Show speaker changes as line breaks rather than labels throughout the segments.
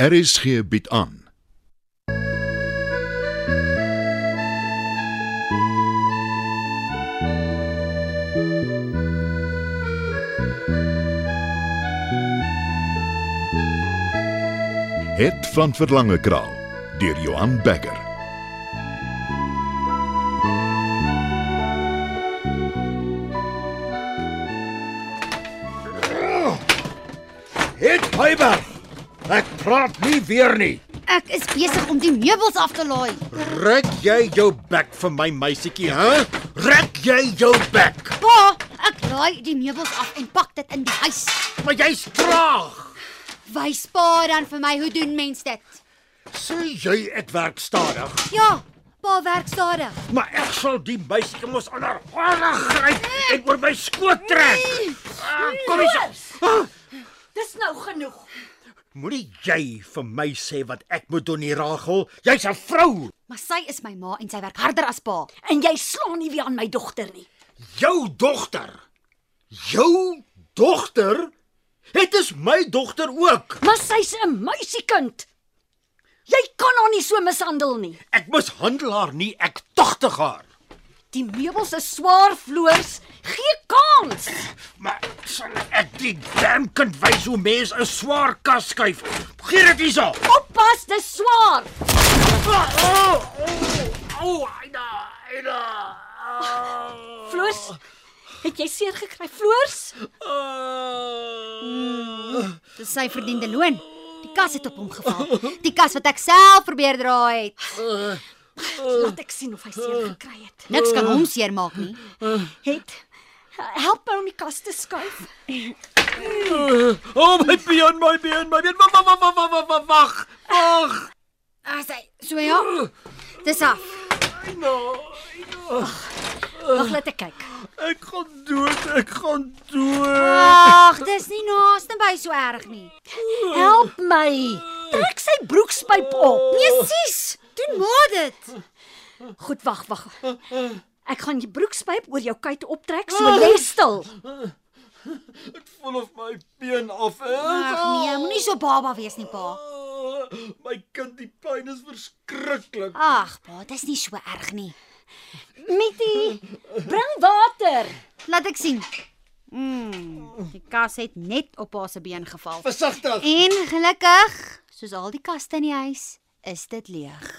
RSG bied aan. Het van Verlange Kraal deur Johan Becker.
Het Huiberg. Ek praat nie weer nie.
Ek is besig om die meubels af te laai.
Rek jy jou bek vir my meisietjie, hè? Rek jy jou bek.
Pa, ek laai die meubels af en pak dit in die huis.
Maar jy's traag.
Wys pa dan vir my hoe doen mens dit?
Sê jy ek werk stadig,
Ja, pa werk stadig.
maar ek sal die meisietjie mos aan haar hare gryp en oor my skoot trek. Ah, Kom hier. Ah,
Dis nou genoeg.
Moenie jy vir my sê wat ek moet doen nie, Ragel. Jy's 'n vrou.
Maar sy is my ma en sy werk harder as pa.
En jy slaan nie weer aan my dogter nie.
Jou dogter. Jou dogter? Dit is my dogter ook.
Maar sy's 'n meisiekind. Jy kan haar nie so mishandel nie.
Ek mishandel haar nie, ek tagtig haar.
Die meubels is swaar floors. Gee kans.
Maar sal ek die damn kind wys hoe mens 'n swaar kas skuif. Gee dit hierso.
Oppas, dis swaar.
Au, au, Aida, Aida. Au.
Floors, het jy seer gekry, Floors?
Ah. Au.
Dis sy verdiende loon. Die kas het op hom geval. Die kas wat ek self probeer dra het.
Laat ek sien of hy seer gekry het.
Niks kan hom seermaak nie.
Het help my om die kas te skuif.
Oh my been, my been, my been. Wag, wag, wag, wag, wag, wag. Wag.
Ah, sy, so ja. Dis af.
Nou,
Wag, laat ek kyk.
ek gaan dood, ek gaan
Ah.
dood.
Ag, dis nie naaste by so erg nie.
Help my. Trek sy broekspyp op.
Nee, sies. Doen maar dit.
Goed, wag, wag. Ek gaan jou broekspyp oor jou kuit optrek, so lê stil.
Ek voel of my been af is.
Ag nee, moenie so baba wees nie, pa.
Ah, My kind, die pyn is verskriklik.
Ag, pa, dis nie so erg nie.
Mitty, bring water.
Laat ek sien. Mm, die kas het net op haar se been geval.
Versigtig.
En gelukkig, soos al die kaste in die huis, is dit leeg.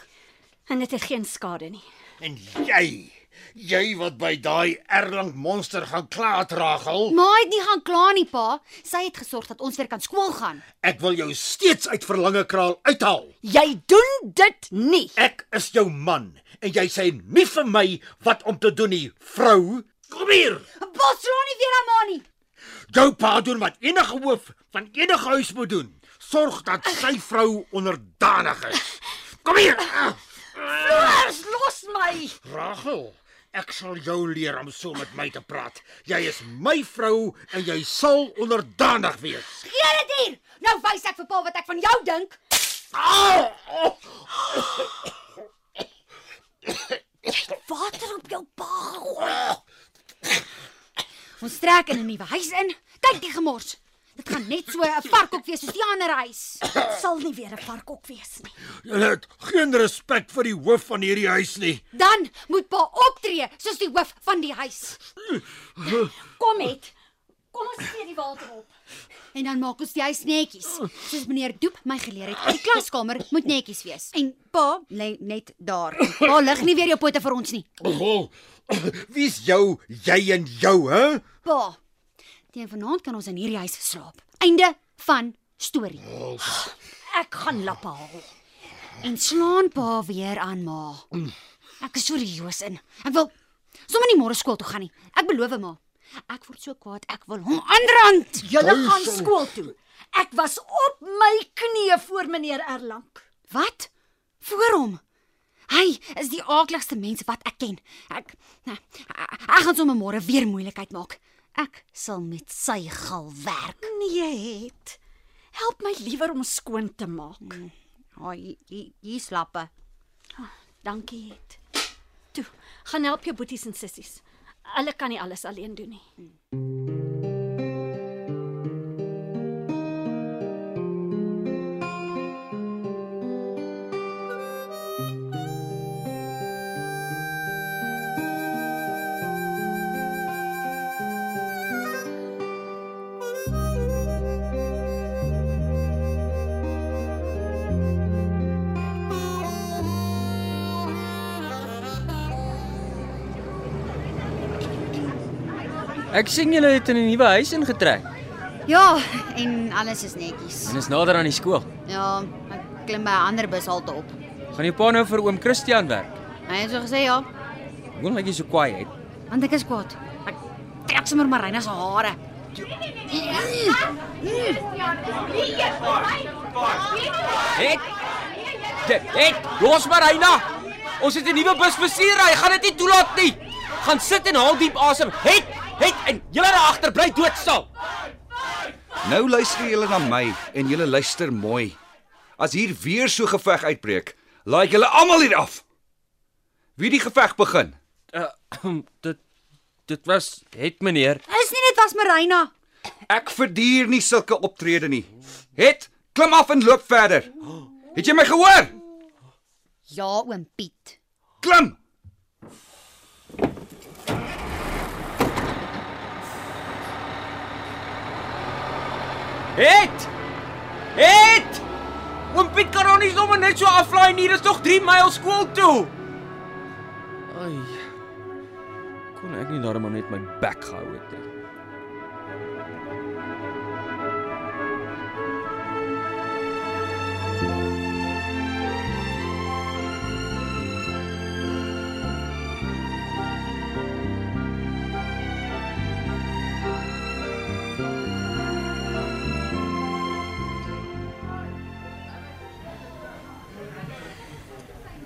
En dit het geen skade nie.
En jy, jy wat by daai Erlang monster gaan klaat ragel,
Ma het nie gaan kla nie, pa. Sy het gesorg dat ons weer kan skool gaan.
ek wil jou steeds uit verlange kraal uithaal.
Jy doen dit nie.
Ek is jou man en jy sê nie vir my wat om te doen nie, vrou. Kom hier.
Bos slaan nie weer aan ma nie.
Jou pa doen wat enige hoof van enige huis moet doen. Sorg dat sy vrou onderdanig is. Ah. Kom hier.
Floors, los my.
Rachel, ek sal jou leer om so met my te praat. Jy is my vrou en jy sal onderdanig wees.
Gee dit hier. Nou wys ek vir pa wat ek van jou dink.
Au! Oh,
Water op jou pa gegooi.
Ons trek in 'n nuwe huis in. Kyk die gemors. Dit gaan net so 'n varkhok wees soos die ander huis.
Dit sal nie weer 'n varkhok wees nie.
Jy het geen respek vir die hoof van hierdie huis nie.
Dan moet pa optree soos die hoof van die huis.
Kom het. Kom ons gee die water op.
En dan maak ons die huis netjies. Soos meneer Doep my geleer het, die klaskamer moet netjies wees. En pa lê net daar. Pa lig nie weer jou pote vir ons nie.
Oh, Wie's jou, jy en jou, hè?
Pa. Teen vanaand kan ons in hierdie huis slaap. Einde van storie.
Ek gaan lappe haal.
En slaan pa weer aan ma. Ek is serieus in. Ek wil sommer nie môre skool toe gaan nie. Ek beloof ma. Ek word so kwaad, ek wil hom aanrand.
Julle gaan
Duisend.
skool toe. Ek was op my knieë voor meneer Erlang.
Wat? Voor hom. Hy is die aakligste mens wat ek ken. Ek nou, ek gaan sommer môre weer moeilikheid maak. Ek sal met sy gal werk.
Nee, het. Help my liewer om skoon te maak.
Haai, oh, hier hier slappe.
Dankie het. Toe, gaan help jou boeties en sissies. Hulle kan nie alles alleen doen nie.
Ek sien julle het in 'n nuwe huis ingetrek.
Ja, en alles is netjies.
En is nader aan die skool.
Ja, ek klim by 'n ander bushalte op.
Gaan jou pa nou vir oom Christian werk?
Hy het so gesê ja,
Hoekom lyk jy so kwaai uit?
want ek is kwaad. Ek trek sommer Marina se hare.
Het dit het los maar Reina. Ons het 'n nuwe bus bestuur, hy gaan dit nie toelaat nie. Gaan sit en haal diep asem. Het het en julle daar agter bly doodstil.
Nou luister julle na my en julle luister mooi. As hier weer so geveg uitbreek, laai ek julle almal hier af. Wie die geveg begin?
Uh, dit dit was het meneer.
Is nie net was Marina.
Ek verduur nie sulke optrede nie. Het, klim af en loop verder. Het jy my gehoor?
Ja, oom Piet.
Klim.
Het het Oom Piet kan hom nie sommer net so aflaai nie. Dit is nog 3 myl skool toe. Ai. Kon ek nie daarmee net my bek gehou het nie.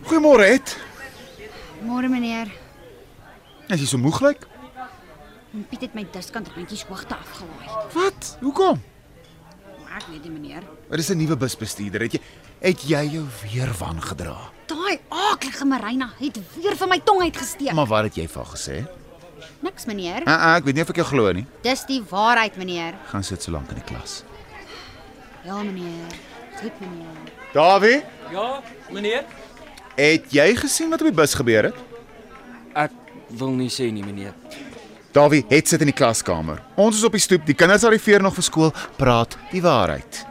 Goeiemôre Het.
Môre meneer.
Is jy so moeg lyk?
Oom Piet het my diskant randjies hoogte afgelaai.
Wat? Hoekom?
Maar ek weet nie meneer.
Er is 'n nuwe busbestuurder. Het jy het jy jou weer wan gedra?
Daai aaklige Marina het weer van my tong uitgesteek.
Maar wat het jy van gesê?
Niks meneer.
Ah, ah, ek weet nie of ek jou glo nie.
Dis die waarheid meneer.
Gaan sit so lank in die klas.
Ja meneer. Goed meneer.
Dawie,
Ja, meneer.
het jy gesien wat op die bus gebeur het?
Ek wil nie sê nie, meneer.
Dawie het sit in die klaskamer. Ons is op die stoep. Die kinders arriveer nog vir skool. Praat die waarheid.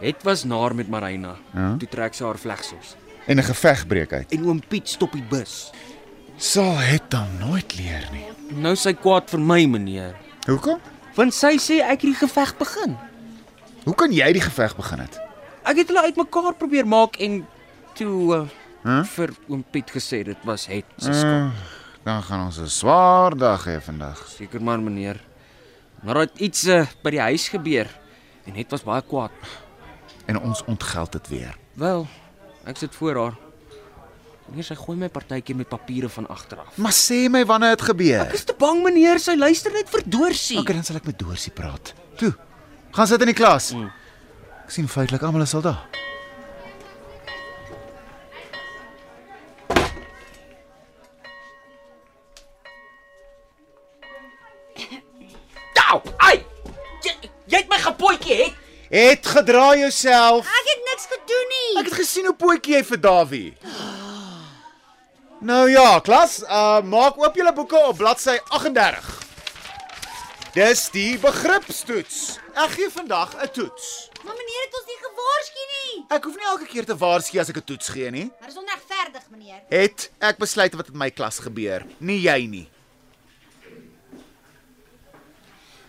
Het was naar met Marina. Ja? Toe trek sy haar vlegsels.
En 'n geveg breek uit.
En oom Piet stop die bus.
Sal het dan nooit leer nie.
Nou is sy kwaad vir my, meneer.
Hoekom?
Want sy sê ek het die geveg begin.
Hoe kan jy die geveg begin het?
Ek het hulle uitmekaar probeer maak en toe uh,
Huh?
vir oom Piet gesê dit was het se skuld.
Dan gaan ons 'n swaar dag hê vandag.
Seker maar, meneer. Maar daar het iets uh, by die huis gebeur en het was baie kwaad.
en ons ontgeld dit weer.
Wel, ek sit voor haar. Meneer, sy gooi my partytjie met papiere van agter af.
Maar sê my wanneer dit gebeur.
Ek is te bang, meneer. Sy luister net verdorsie.
Okay, dan sal ek met Dorsie praat. Mm. Toe. Gaan sit in die klas. Ek sien feitelik almal is al daar.
Au! Nou, Ai! Jy, jy het my gepootjie het.
Het gedra jouself.
Ek het niks gedoen nie.
Ek het gesien hoe pootjie jy vir Dawie. Nou ja, klas, uh maak oop julle boeke op bladsy 38. Dis die begripstoets. Ek gee vandag 'n toets.
Maar meneer het ons nie gewaarsku nie.
Ek hoef nie elke keer te waarsku as ek 'n toets gee nie.
Maar dis onregverdig meneer.
Het ek besluit wat met my klas gebeur, nie jy nie.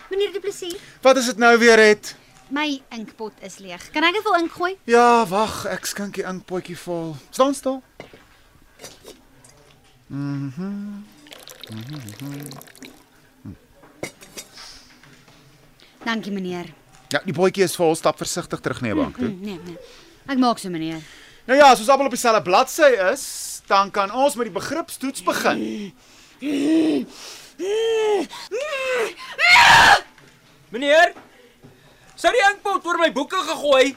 Meneer Du Plessis,
Wat is dit nou weer het?
my inkpot is leeg. Kan ek dit wel ingooi?
Ja, wag, ek skink die inkpotjie vol. Staan stil. Mhm.
Dankie meneer.
Ja, die potjie is vol. Stap versigtig terug na die bank toe.
Hm, nee, nee. Ek maak so meneer.
Nou ja, as ons almal op dieselfde bladsy is, dan kan ons met die begripstoets begin.
Meneer, sou die inkpot oor my boeke gegooi?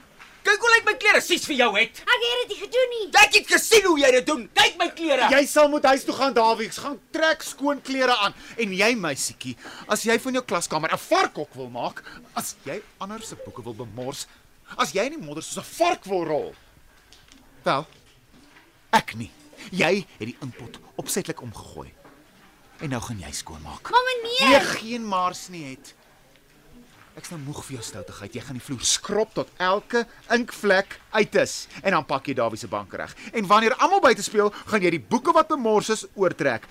Kyk hoe lyk my klere sies vir jou het.
Ek het dit nie gedoen nie.
Ek het gesien hoe jy dit doen. Kyk my klere.
Jy sal moet huis toe gaan, Dawie. Gaan trek skoon klere aan. En jy, meisietjie, as jy van jou klaskamer 'n varkhok wil maak, as jy ander se boeke wil bemors, as jy in die modder soos 'n vark wil rol. Wel, ek nie. Jy het die inpot opsetlik omgegooi. En nou gaan jy skoonmaak.
Maar meneer,
Nee, geen mars nie het. Ek's nou moeg vir jou stoutigheid. Jy gaan die vloer skrob tot elke inkvlek uit is en dan pak jy Dawie se bank reg. En wanneer almal buite speel, gaan jy die boeke wat bemors is oortrek.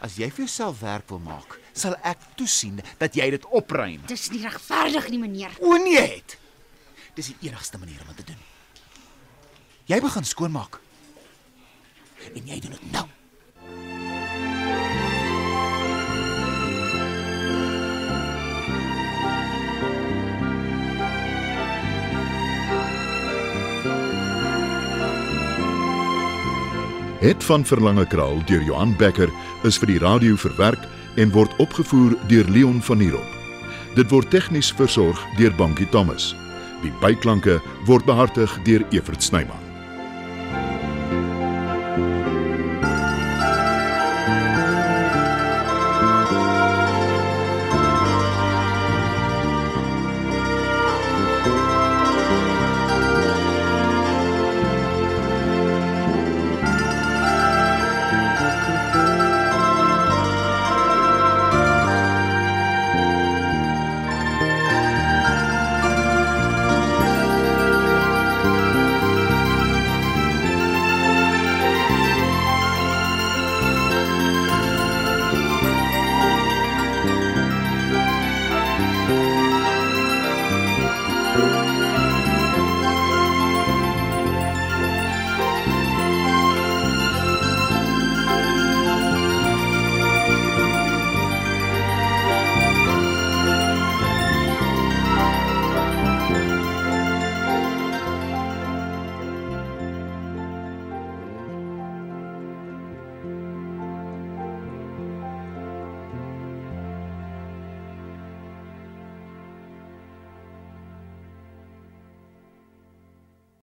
As jy vir jouself werk wil maak, sal ek toesien dat jy dit opruim.
Dis nie regverdig nie, meneer.
O nee het. Dis die enigste manier om dit te doen. Jy begin skoonmaak. En jy doen dit nou.
Het van Verlange Kraal deur Johan Becker is vir die radio verwerk en word opgevoer deur Leon Van Heerop. Dit word tegnies versorg deur Bankie Thomas. Die byklanke word behartig deur Evert Snyman.